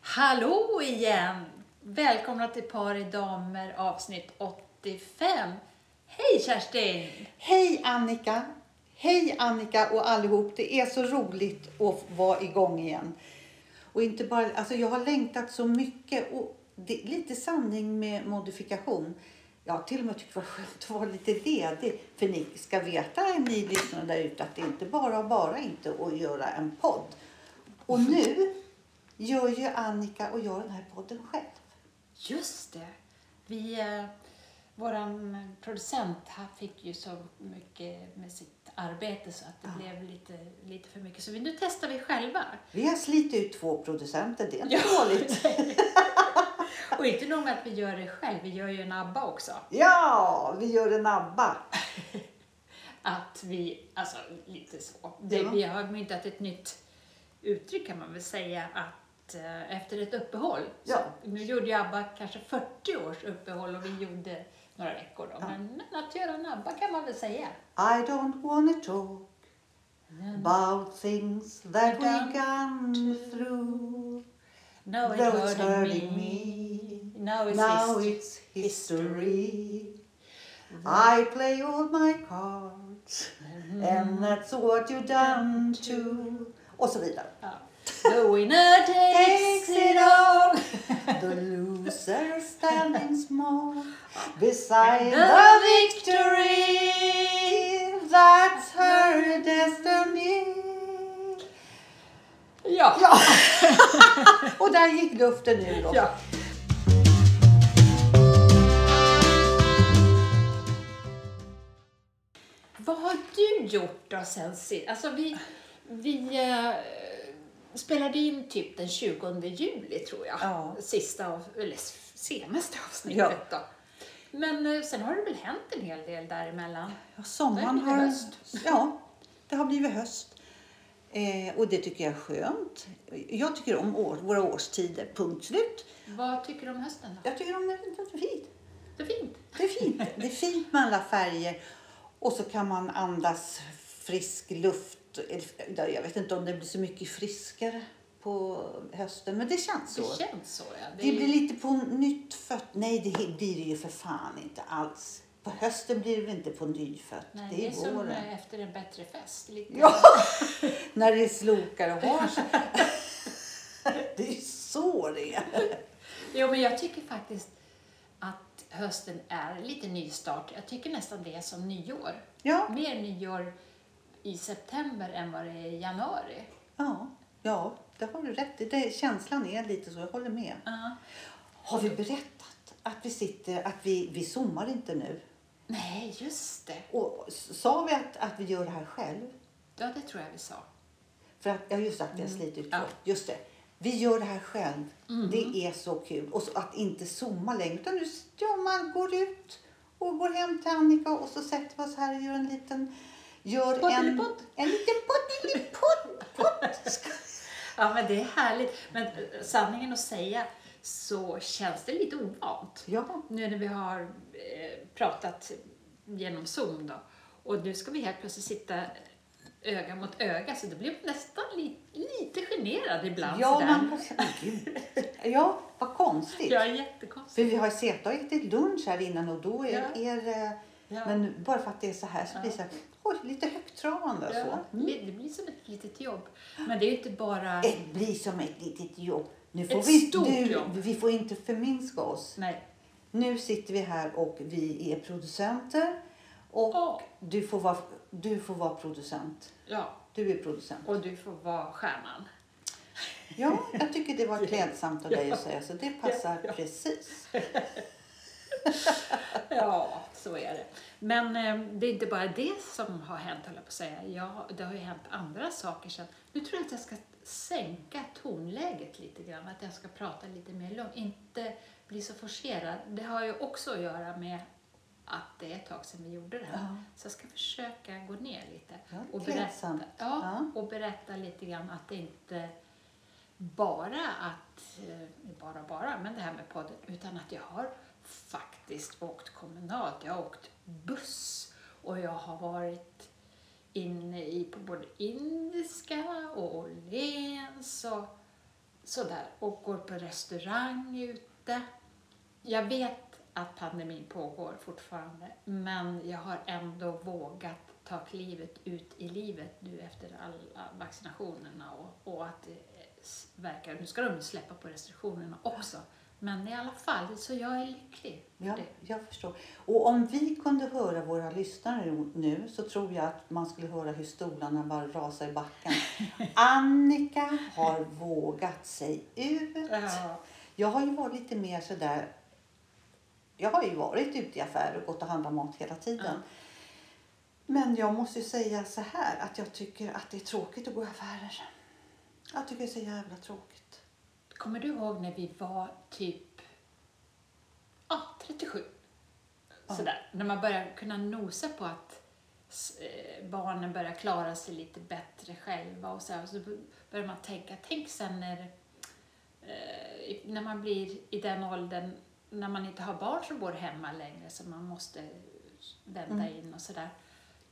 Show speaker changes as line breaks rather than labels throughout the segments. Hallå igen! Välkomna till Par i damer avsnitt 85. Hej Kerstin!
Hej Annika! Hej Annika och allihop! Det är så roligt att vara igång igen. Och inte bara, alltså jag har längtat så mycket och det är lite sanning med modifikation. Jag har till och med tyckt det var skönt att vara lite ledig. För ni ska veta, ni lyssnare där ute, att det är inte bara bara inte att göra en podd. Och nu gör ju Annika och jag den här podden själv.
Just det! Vi, eh, våran producent han fick ju så mycket med sitt arbete så att det
Ja.
blev lite, lite för mycket. Så vi, nu testar vi själva.
Vi har slitit ut två producenter, det är inte
Ja.
dåligt.
Och inte nog med att vi gör det själv, vi gör ju en ABBA också.
Ja, vi gör en ABBA.
Att vi, alltså lite så. Det,
Ja.
Vi har myntat ett nytt uttryck kan man väl säga att eh, efter ett uppehåll.
Ja.
Så Nu gjorde ju ABBA kanske 40 års uppehåll och vi gjorde några veckor då. Men, men att göra en ABBA kan man väl säga.
I don't wanna talk about things that we gone through.
Now it
Though it's
hurting,
hurting
me.
me.
Now it's
Now
hist-
it's history. I play all my cards and that's what you Mm-hmm. done too. Och så vidare.
Ja. The winner takes it all.
The loser standing small beside
The
the victory. That's her destiny.
Ja.
Ja. Och där gick luften ur oss.
Ja. Vad har du gjort då sen sist? Alltså vi, vi eh, spelade in typ den 20 juli tror jag.
Ja.
Sista av, eller s- senaste avsnittet då. Men eh, sen har det väl hänt en hel del däremellan?
Ja, Sommaren
Det har
har...
blivit höst.
Ja, det har blivit höst. Eh, och det tycker jag är skönt. Jag tycker om år, våra årstider, punkt slut.
Vad tycker du om hösten då?
Jag tycker om det, det är fint.
Det är fint.
Det är fint. Det är fint med alla färger. Och så kan man andas frisk luft. Eller, Jag vet inte om det blir så mycket friskare på hösten, men det känns så.
Det känns så ja.
Det
är-
blir lite på nytt fött. Nej, det blir det ju för fan inte alls. På hösten blir det väl inte på nyfött.
Nej,
det är,
som
våren.
eh, efter en bättre fest. Lite.
Ja, när det slokar och har sig. Det är så det är.
Jo, men jag tycker faktiskt att hösten är lite nystart. Jag tycker nästan det är som nyår.
Ja,
Mer nyår i september än vad det är i januari.
ja, ja det har du rätt i. Det, känslan är lite så, jag håller med.
Uh-huh.
Har vi berättat att vi sitter, att vi, vi zoomar inte nu?
Nej, just det.
Och s- sa vi att, att vi gör det här själv?
Ja, det tror jag vi sa.
För att, ja, just att vi har slitit ut
Mm. Ja. Mm.
folk. Just det. Vi gör det här själv. Det är så kul. Och så att inte zooma längre. Utan nu s- ja, man går ut och går hem till Annika och så sätter vi oss här och gör en liten... Gör en,
Poddelipodd.
en liten poddelipodd. podd. Ska-
Ja, men det är härligt. Men eh, sanningen att säga så känns det lite ovant.
Ja.
Nu när vi har eh, pratat genom Zoom då. Och nu ska vi helt plötsligt sitta öga mot öga så det blir man nästan li- lite generad ibland.
Ja,
sådär.
man, Gud. ja, vad konstigt.
Ja, jättekonstigt.
För vi har ju suttit och ätit lunch här innan och då är,
Ja.
är det...
Ja.
Men nu- bara för att det är så här så
Ja.
blir det så här, oj, lite högtravande och så. Mm.
Ja, det det blir som ett litet jobb. Men det är ju inte bara...
Ett blir som ett litet jobb. Nu får
Ett
vi,
stort
nu,
jobb.
Vi får inte förminska oss.
Nej.
Nu sitter vi här och vi är producenter. Och
Ja.
du, får vara, du får vara producent.
Ja,
Du är producent.
och du får vara stjärnan.
Ja, jag tycker det var klädsamt av dig att säga så. Det passar
Ja.
precis.
Ja, så är det. Men eh, det är inte bara det som har hänt, höll jag på att säga. Ja, det har ju hänt andra saker sen. Nu tror jag att jag ska sänka tonläget lite grann. Att jag ska prata lite mer lugnt. Inte bli så forcerad. Det har ju också att göra med att det är ett tag sedan vi gjorde det här.
Ja.
Så jag ska försöka gå ner lite.
Ja,
och, berätta,
klädsamt.
ja,
Ja.
och berätta lite grann att det inte bara att, eh, bara bara, men det här med podden, utan att jag har faktiskt åkt kommunalt. Jag har åkt buss och jag har varit inne i, på både Indiska och Åhléns och sådär, och går på restaurang ute. Jag vet att pandemin pågår fortfarande, men jag har ändå vågat ta klivet ut i livet nu efter alla vaccinationerna och, och att det s- verkar, nu ska de släppa på restriktionerna också, men i alla fall, så jag är lycklig. för
Ja,
det.
jag förstår. Och om vi kunde höra våra lyssnare nu så tror jag att man skulle höra hur stolarna bara rasar i backen. Annika har vågat sig ut.
Ja.
Jag har ju varit lite mer sådär... Jag har ju varit ute i affärer och gått och handlat mat hela tiden.
Ja.
Men jag måste ju säga så här att jag tycker att det är tråkigt att gå i affärer. Jag tycker det är så jävla tråkigt.
Kommer du ihåg när vi var typ ja, 37?
Ja.
Sådär. När man börjar kunna nosa på att s- eh, barnen börjar klara sig lite bättre själva och så, här, så börjar man tänka, tänk sen när, eh, i- när man blir i den åldern när man inte har barn som bor hemma längre så man måste vänta in och sådär.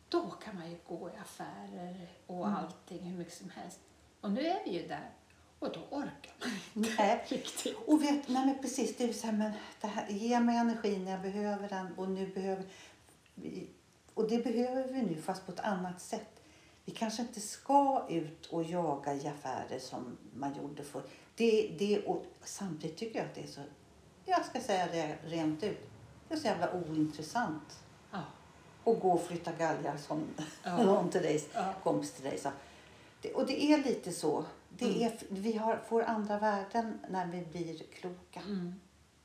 Då kan man ju gå i affärer och allting hur mycket som helst. Och nu är vi ju där och då orkar man
Nej,
Riktigt.
Och vet, nej men precis, det är ju så här, men det här, ge mig energi när jag behöver den och nu behöver vi- och det behöver vi nu fast på ett annat sätt. Vi kanske inte ska ut och jaga i affärer som man gjorde förr. Det, det, och samtidigt tycker jag att det är så, jag ska säga det rent ut, det är så jävla ointressant
Ja.
att gå och flytta galgar som
Ja.
någon till dig,
Ja.
kompis till dig sa. Det, och det är lite så. Det är, vi har, får andra värden när vi blir kloka.
Mm.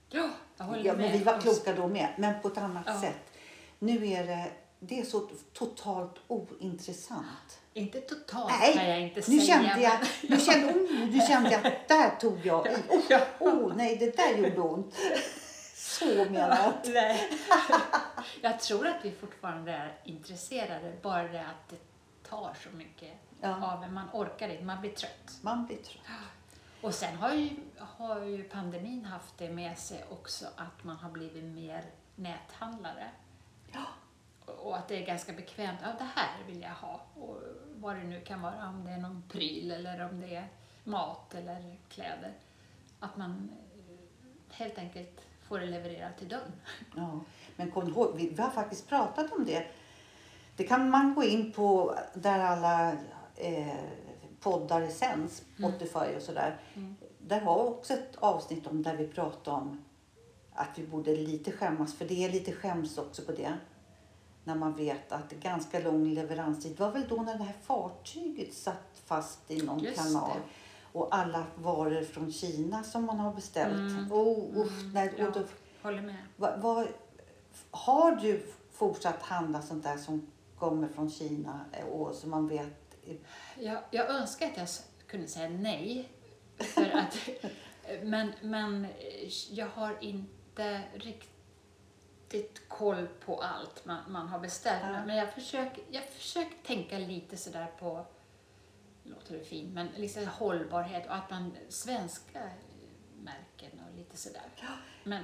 ja, jag håller
Ja,
med.
men vi var kloka då med, men på ett annat
Ja.
sätt. Nu är det, det är så totalt ointressant.
Inte totalt kan jag
Nej,
inte
nu
säga.
kände jag,
men-
nu kände, oh, nu kände jag att där tog jag i. Oh,
Ja.
oh, nej, det där gjorde ont. Så menar jag.
Nej. jag tror att vi fortfarande är intresserade, bara det att det tar så mycket
Ja.
av en. Man orkar inte, man blir trött.
Man blir trött.
Och sen har ju, har ju pandemin haft det med sig också att man har blivit mer näthandlare.
Ja.
och att det är ganska bekvämt. Ja, det här vill jag ha. Och vad det nu kan vara, om det är någon pryl eller om det är mat eller kläder. Att man eh, helt enkelt får det levererat till dörren.
Ja, men kom ihåg, vi, vi har faktiskt pratat om det. Det kan man gå in på där alla eh, poddar sänds,
Mm.
Spotify och sådär. Där har vi också ett avsnitt om där vi pratar om att vi borde lite skämmas, för det är lite skäms också på det. När man vet att det är ganska lång leveranstid. Det var väl då när det här fartyget satt fast i någon
Just
kanal.
det.
Och alla varor från Kina som man har beställt.
Mm.
Oh, usch, nej, och då,
Ja, håller med.
vad, vad, har du fortsatt handla sånt där som kommer från Kina eh, och som man vet
Jag, jag önskar att jag s- kunde säga nej. För att, men, men eh, jag har inte riktigt koll på allt man, man har beställt.
Ja.
Men jag försöker, jag försöker tänka lite sådär på, låter det fint, men liksom hållbarhet och att man svenska märken och lite sådär. Men,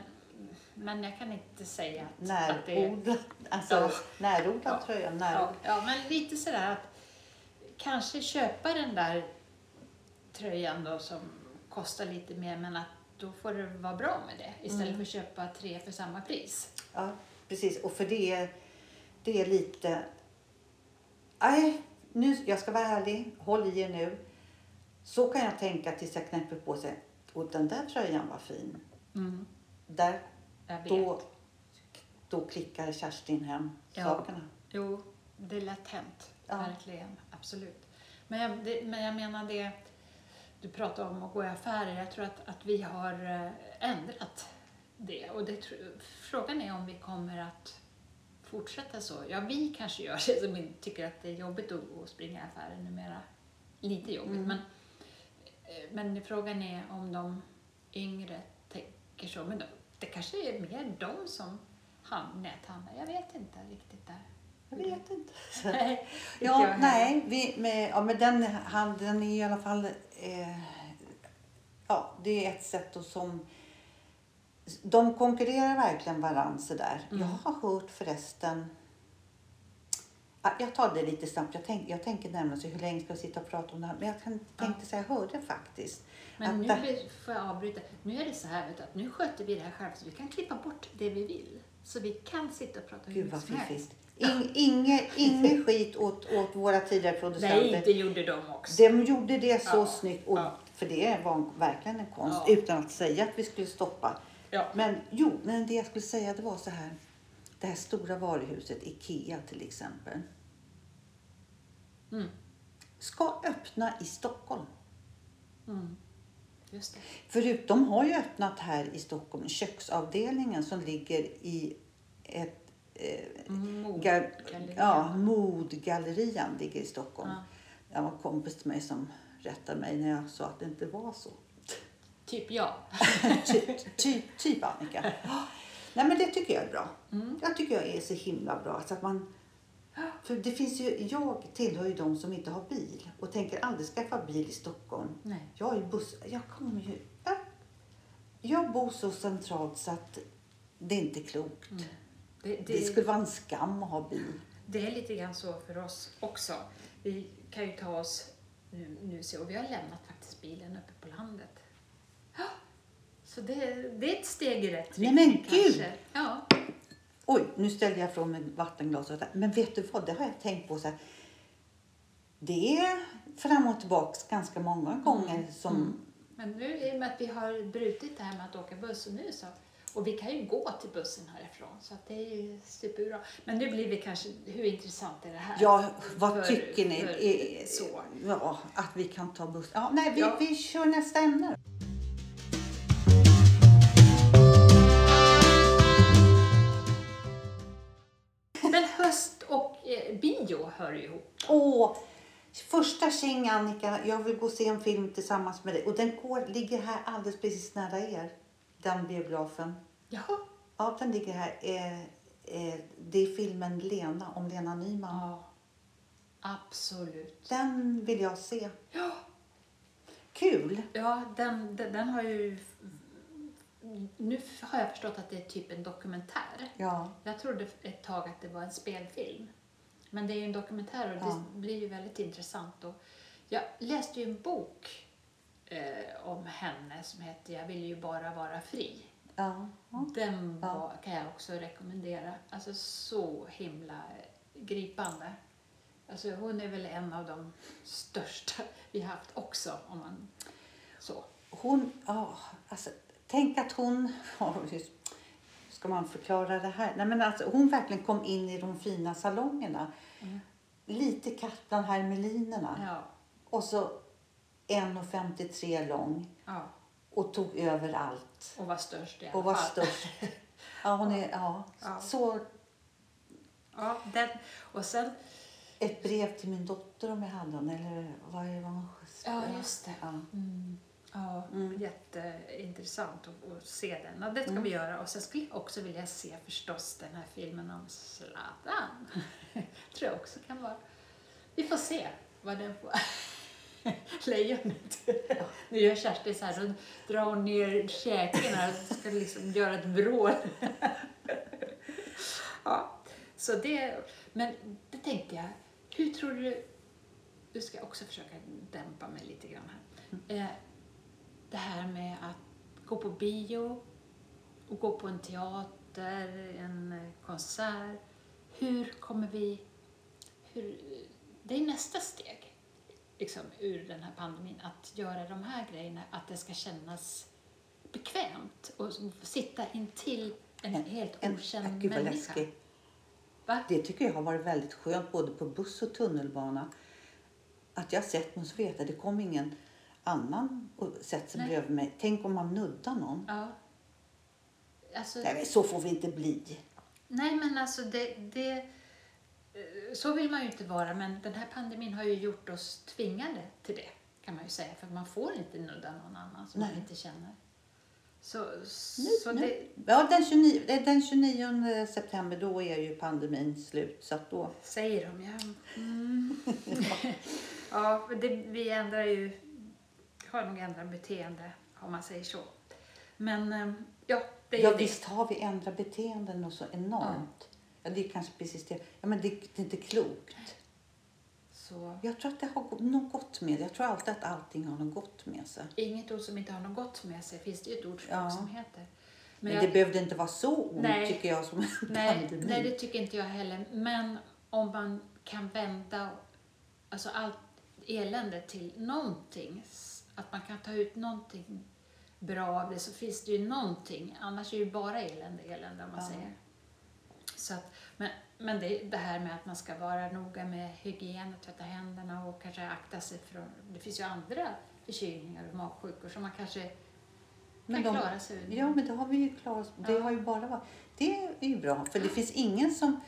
men jag kan inte säga att, att det är
närodlat, alltså
Ja.
närodlat
Ja.
tror jag,
Ja,
närod,
ja, men lite sådär att kanske köpa den där tröjan då som kostar lite mer men att då får det vara bra med det istället för att köpa tre för samma pris.
ja, precis. Och för det är, det är lite, nej, nu, jag ska vara ärlig, håll i er nu. Så kan jag tänka tills jag knäpper på sig, och den där tröjan var fin. Där,
Jag vet.
då, då klickar Kerstin hem
Ja.
sakerna.
Jo, det är lätt hänt.
Ja.
Verkligen. Absolut. Men jag, det, men jag menar det du pratar om att gå i affärer. Jag tror att, att vi har eh, ändrat det. Och det, tr- frågan är om vi kommer att fortsätta så. Ja, vi kanske gör det som inte tycker att det är jobbigt att, att springa i affärer numera. Lite jobbigt,
Mm.
men, eh, men frågan är om de yngre tänker så. Men de, det kanske är mer de som han, näthandlar. Jag vet inte riktigt där.
Jag vet inte.
Nej, inte jag
Ja,
heller.
nej, vi, med, ja, men den, han, den är i alla fall... Eh, ja, det är ett sätt och som... De
Mm.
konkurrerar verkligen varandra där. Jag har hört förresten Jag tar det lite snabbt. Jag, tänk, jag tänker nämligen så hur länge ska jag sitta och prata om det här? Men jag kan, tänkte så här, jag hörde faktiskt.
Men nu
att, det-
blir- får jag avbryta. Nu är det så här vet du, att nu sköter vi det här själva så vi kan klippa bort det vi vill. Så vi kan sitta och prata hur
Gud
mycket
vad
som helst.
fiffigt. In, inge, ingen skit åt, åt våra tidigare producenter.
Nej, det gjorde de också.
De gjorde det så
Ja,
snyggt. Och,
ja.
För det var en- verkligen en konst.
Ja.
Utan att säga att vi skulle stoppa.
Ja.
Men jo, men det jag skulle säga det var så här. Det här stora varuhuset IKEA till exempel.
Mm.
Ska öppna i Stockholm.
Mm. Just det.
Förutom har ju öppnat här i Stockholm köksavdelningen som ligger i ett eh,
Mm.
Gal-
Mordgallerian.
ja, modgallerian ligger i Stockholm.
Ja.
Jag var en kompis till mig som rättade mig när jag sa att det inte var så.
Typ jag.
typ, typ, typ Annika. Ja. Nej men det tycker jag är bra. Jag tycker jag är så himla bra. Så att man, för det finns ju, jag tillhör ju de som inte har bil och tänker aldrig skaffa bil i Stockholm.
Nej.
Jag är ju buss... Jag kommer ju... Jag, jag bor så centralt så att det är inte klokt.
Det, det,
Det skulle vara en skam att ha bil.
det är lite grann så för oss också. Vi kan ju ta oss nu, nu se, och vi har lämnat faktiskt bilen uppe på landet. Ja. Så det, det är ett steg i rätt
Nej,
riktning
men gud!
kanske. Ja.
Oj, nu ställde jag från mig vattenglaset. där. Men vet du vad, det har jag tänkt på. Så här. Det är fram och tillbaka ganska många gånger som...
Men nu i och med att vi har brutit det här med att åka buss och nu så och vi kan ju gå till bussen härifrån så att det är ju superbra. Men nu blir vi kanske, hur intressant är det här?
Ja, vad
För-
tycker ni?
för-
Eh,
så.
Ja, att vi kan ta buss. Ja, nej, vi,
Ja.
vi kör nästa ämne. då.
Men höst och eh, bio hör ju ihop.
Åh, första tjing Annika, jag vill gå och se en film tillsammans med dig. Och den går, ligger här alldeles precis nära er, den biografen.
Jaha.
Ja, den ligger här. Eh, eh, det är filmen Lena, om Lena Nyman.
Ja, absolut.
Den vill jag se.
Ja,
Kul!
ja den, den, den har ju... Nu har jag förstått att det är typ en dokumentär.
Ja.
Jag trodde ett tag att det var en spelfilm. Men det är ju en dokumentär och
Ja.
det blir ju väldigt intressant. Och jag läste ju en bok eh, om henne som heter Jag vill ju bara vara fri.
ja.
Den
Ja.
var, kan jag också rekommendera. Alltså så himla gripande. Alltså hon är väl en av de största vi haft också. Om man så.
Hon, ja, alltså, tänk att hon, ja, hur ska man förklara det här? Nej, men alltså, hon verkligen kom in i de fina salongerna. Lite katten Hermelinerna.
Mm. Ja,
Och så 1,53 lång
ja.
och tog över allt.
Och var störst i alla
Och var
fall.
störst. Ja, hon är, ja,
Ja.
Så
Ja, den. Och sen
ett brev till min dotter om jag hade hon, eller vad är det vad hon
Ja, just det.
Ja.
Mm. Ja, jätteintressant att, att se den. Ja, det ska vi göra. Och sen skulle jag också vilja se förstås den här filmen om Zlatan. tror jag också kan vara. Vi får se vad den får. Lejonet. Nu gör Kerstin så här, så drar hon ner käken här och ska liksom göra ett vrål. Ja, så det, men det tänkte jag, hur tror du nu ska jag också försöka dämpa mig lite grann
Mm.
här. Eh, Det här med att gå på bio och gå på en teater, en eh, konsert. Hur kommer vi... Hur, det är nästa steg liksom, ur den här pandemin, att göra de här grejerna, att det ska kännas bekvämt och s- sitta intill en, helt
En-
okänd
ja, Gud vad
människa.
läskigt.
Va?
Det tycker jag har varit väldigt skönt både på buss och tunnelbana. Att jag har sett men så vet jag det kom ingen annan och sätter sig
Nej.
bredvid mig. Tänk om man nuddar någon.
Ja. Alltså,
Nej men så får vi inte bli.
Nej, men alltså det, det... eh, Så vill man ju inte vara, men den här pandemin har ju gjort oss tvingade till det, kan man ju säga. För man får inte nudda någon annan som man
Nej.
inte känner. Så, så
Nu-
det...
Ja, den, 29, eh, den 29 september då är ju pandemin slut så att då.
Säger de, ja. Mm. ja, för det, vi ändrar ju... Har nog ändrat beteende, om man säger så. Men, eh, ja, det är
Ja
ju det.
visst har vi ändrat beteenden och så enormt. Ja, det är kanske precis det. Ja, men det, det är inte klokt.
Så
Jag tror att det har något gott med det. Jag tror alltid att allting har något gott med sig.
inget ord som inte har något gott med sig finns det ju ett ordspråk
Ja.
som heter.
Men,
jag-
det behövde inte vara så ont
Nej.
tycker jag som en
Nej,
pandemi.
nej, det tycker inte jag heller. Men om man kan vända alltså allt elände till någonting, s- att man kan ta ut någonting bra av det, så finns det ju någonting. Annars är det ju bara elände, elände om man
Ja.
säger. Så att, men men det, det här med att man ska vara noga med hygien, och tvätta händerna och kanske akta sig från... Det finns ju andra förkylningar och magsjukor som man kanske kan
Men de-
klara sig ur.
Ja, men det har vi ju klarat. Det
Ja.
har ju bara varit. Det är ju bra, för det finns ingen som...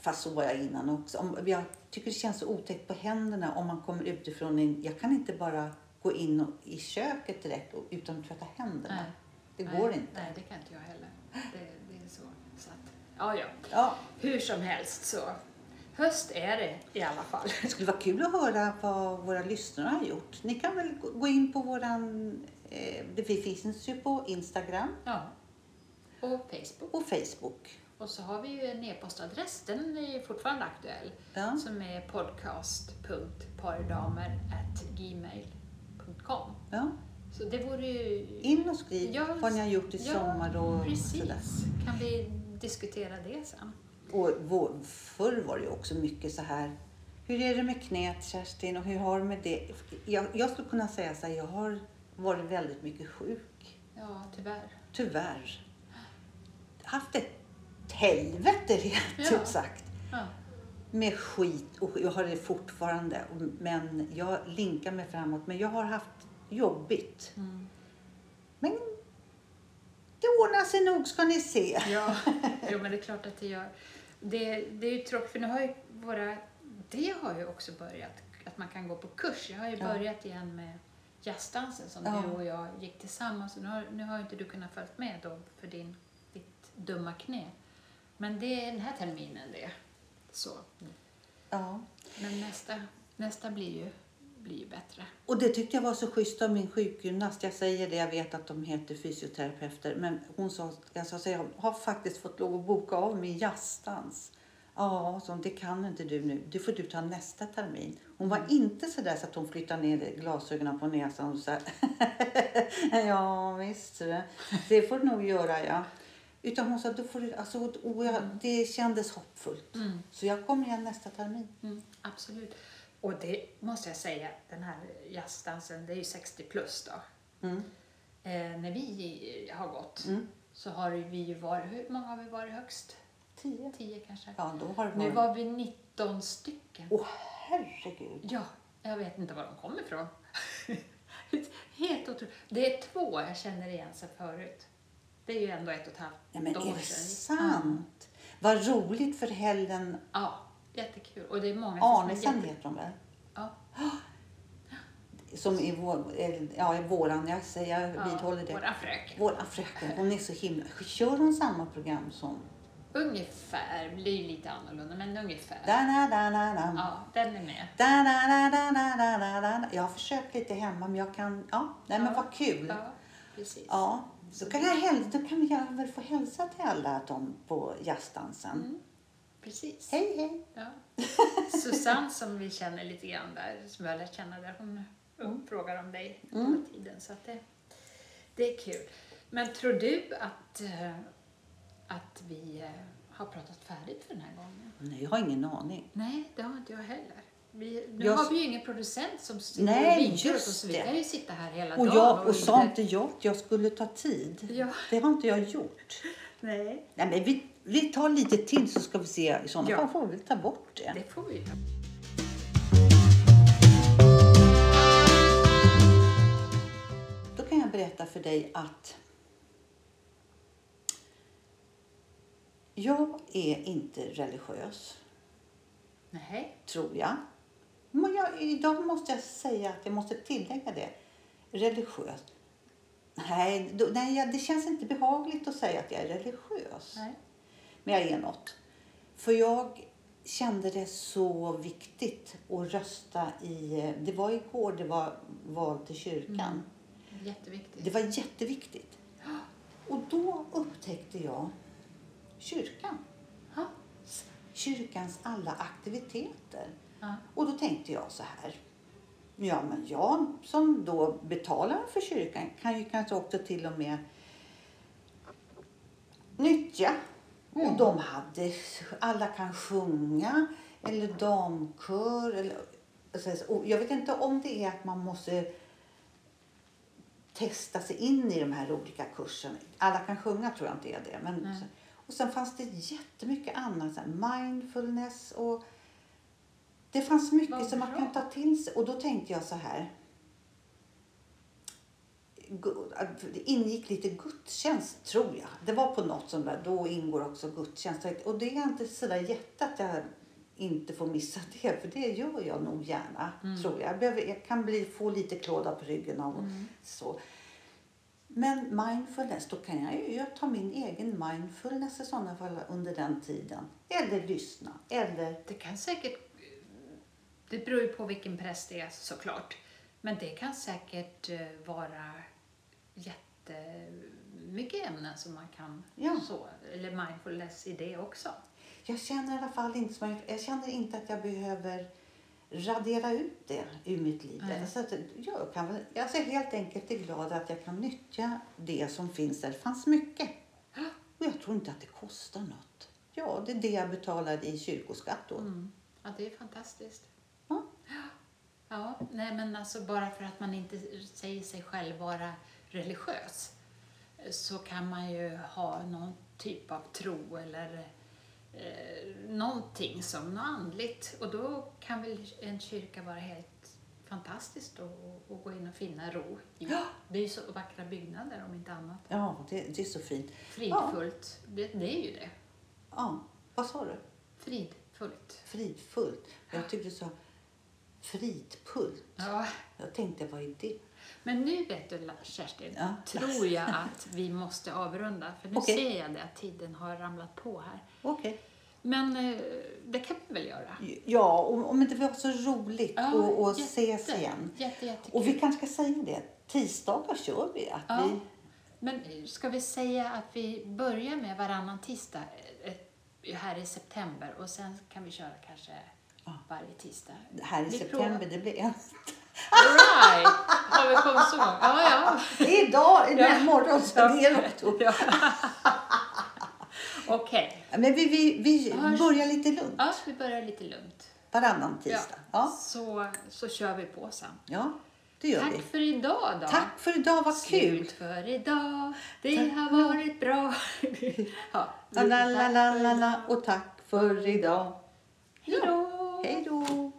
Fast så var jag innan också. Om, jag tycker det känns så otäckt på händerna om man kommer utifrån. En, jag kan inte bara gå in och, i köket direkt och, utan att tvätta händerna.
Nej.
Det
Nej,
går inte.
Nej, det kan inte jag heller. Det, det är så. så att, ja, ja.
Ja,
Hur som helst så. Höst är det i alla fall.
det skulle vara kul att höra vad våra lyssnare har gjort. Ni kan väl gå- gå in på våran... Eh, det vi finns ju på Instagram
Ja. Och Facebook.
och Facebook.
Och så har vi ju en e-postadress, den är ju fortfarande aktuell,
Ja.
som är podcast.pardamer.gmail.com.
Ja.
Så det vore ju...
In och skriv
Ja,
vad ni har gjort i
ja,
sommar och sådär.
Precis. Kan vi diskutera det sen?
Och vår, förr var det ju också mycket så här. Hur är det med knät Kerstin och hur har du med det? Jag, jag skulle kunna säga så här, jag har varit väldigt mycket sjuk.
Ja, tyvärr.
Tyvärr. Haft ett helvete rent
Ja.
ut sagt.
Ja.
Med skit och jag har det fortfarande. Och- Men jag linkar mig framåt. Men jag har haft jobbigt.
Mm.
Men det ordnar sig nog ska ni se.
Ja, jo, men det är klart att det gör. Det, det är ju tråkigt för nu har ju våra, det har ju också börjat, att man kan gå på kurs. Jag har ju
Ja.
börjat igen med jazzdansen som
Ja.
du och jag gick tillsammans. Nu har, nu har ju inte du kunnat följa med då för din, ditt dumma knä. Men det är den här terminen det. Så.
Ja.
Men nästa, nästa blir ju, blir ju bättre.
Och det tyckte jag var så schysst av min sjukgymnast. Jag säger det, jag vet att de heter fysioterapeuter. Men hon sa, jag sa så här, jag har faktiskt fått lov att boka av min jazzdans. Ja, så det kan inte du nu. Det får du ta nästa termin. Hon
Mm.
var inte så där så att hon flyttade ner glasögonen på näsan och så här. ja, visst du. Det får du nog göra, ja. Utan hon sa, då får du, alltså, och jag,
Mm.
det kändes hoppfullt. Så jag kommer igen nästa termin.
Mm, absolut. Och det måste jag säga, den här jazzdansen, det är ju 60 plus då.
Mm.
Eh, när vi har gått
Mm.
så har vi ju varit, hur många har vi varit högst?
Tio.
10 kanske?
Ja, då har det
Nu
varit-
var vi 19 stycken.
Åh herregud.
Ja, jag vet inte var de kommer ifrån. Helt otroligt. Det är två jag känner igen sen förut. Det är ju ändå ett och ett halvt
Nej, men
år
är det
sedan.
sant? Vad roligt för helgen.
Ja, jättekul. Och det är många som är
Arnesen
jätte-
heter de väl?
Ja.
Som i, vår, eller, ja, i våran, jag, säger, jag
Ja,
vidhåller det. Våran.
Våra fröken.
fröken, hon är så himla... Kör hon samma program som...
Ungefär, blir ju lite annorlunda, men ungefär.
Da-na-da-na-na.
Ja, den är med.
Da-na-na-na-na-na-na-na. Jag har försökt lite hemma men jag kan... Ja, nej men
Ja.
vad kul.
Ja, precis.
Mm. Ja, då kan, jag, häl- då kan jag väl få hälsa till alla dem på jazzdansen.
Mm. Precis.
Hej hej!
Ja. Susanne som vi känner lite grann där, som jag har lärt känna där, hon, hon frågar om dig
Mm.
hela tiden. Så att det, det är kul. Men tror du att, eh, att vi eh, har pratat färdigt för den här gången?
Nej, jag har ingen aning.
Nej, det har inte jag heller. Vi, nu
Jag-
har vi ju ingen producent som sitter
Nej,
och vinkar åt
just
oss. så Vi
det.
kan ju sitta här hela
Och,
dagen.
jag, och
inte-
sa inte jag att jag skulle ta tid?
Ja.
Det har inte jag gjort.
Nej,
Nej, men vi, vi tar lite till så ska vi se. I sådana
Ja.
fall får vi väl ta bort det.
det får vi ju ta.
Då kan jag berätta för dig att jag är inte religiös,
Nej.
tror jag. Men jag, idag måste jag säga att jag måste tillägga det. Religiös. Nej, då, nej, jag- det känns inte behagligt att säga att jag är religiös.
Nej.
Men jag är något. För jag kände det så viktigt att rösta i... Det var igår det var val till kyrkan.
Jätteviktigt.
Det var jätteviktigt. Och då upptäckte jag kyrkan.
Ja, se
kyrkans alla aktiviteter.
Ja.
Och då tänkte jag så här. Ja, men jag som då betalar för kyrkan kan ju kanske också till och med nyttja. Och de hade, alla kan sjunga eller damkör. Eller, och jag vet inte om det är att man måste testa sig in i de här olika kurserna. Alla kan sjunga tror jag inte är det. Men,
Nej.
Och sen fanns det jättemycket annat. Så här mindfulness och det fanns mycket
Vad
som man
bra.
kan ta till sig. Och då tänkte jag så här. Gu- att Det ingick lite gudstjänst tror jag. Det var på något som där, då ingår också gudstjänst. Och det är inte sådär jätte att jag inte får missa det. För det gör jag nog gärna
Mm.
tror jag. Jag, behöver, jag kan bli, få lite klåda på ryggen av så. Men mindfulness, då kan jag ju jag ta min egen mindfulness i sådana fall under den tiden. Eller lyssna. Eller
Det kan säkert... Det beror ju på vilken präst det är såklart. Men det kan säkert eh, vara jättemycket ämnen som man kan...
Ja.
Så, eller mindfulness i det också.
Jag känner i alla fall inte, som jag, jag känner inte att jag behöver radera ut det ur mitt liv.
Nej.
Så att jag, kan, väl- jag är helt enkelt är glad att jag kan nyttja det som finns där. Det fanns mycket. Och jag tror inte att det kostar något. Ja, det är det jag betalar i kyrkoskatt
Mm.
då.
Ja, det är fantastiskt.
Ja.
Ja, nej men alltså bara för att man inte säger sig själv vara religiös så kan man ju ha någon typ av tro eller eh, någonting som något andligt och då kan väl en kyrka vara helt fantastiskt att att gå in och finna ro i.
Ja.
Det är ju så vackra byggnader om inte annat.
Ja, det, det är så fint.
Fridfullt, det, det är ju det.
Ja, vad sa du?
Fridfullt.
Fridfullt. Jag tyckte du sa fridpult.
Ja.
Jag tänkte, vad är det?
Men nu vet du Kerstin,
Ja.
tror jag att vi måste avrunda. För nu
Okej.
ser jag det att tiden har ramlat på här.
Okej.
Men eh, det kan vi väl göra?
Ja, om, om inte det var så roligt
Ja,
att att
jätte-
ses igen.
Jätte, jättekul.
Och vi kanske ska säga det, tisdagar kör vi. Att
ja.
vi
Men ska vi säga att vi börjar med varannan tisdag eh, eh, här i september och sen kan vi köra kanske varje tisdag?
här i
vi
september, det blir en.
Alright! Har vi kommit så långt? Ja, ja.
Det är idag, i
Ja.
morgon, så
Ja.
det är oktober.
ja. Okej.
Men vi, vi, vi
Hörs.
börjar lite lugnt,
Ja, vi börjar lite lugnt.
varannan tisdag.
Ja.
Ja,
Så, så kör vi på sen.
ja det gör vi.
Tack för idag då.
Tack för idag, vad kul!
Slut för idag. Det har varit bra. ja.
La, la, la, la, la, la. Och tack för idag.
Hej då.
Hej då!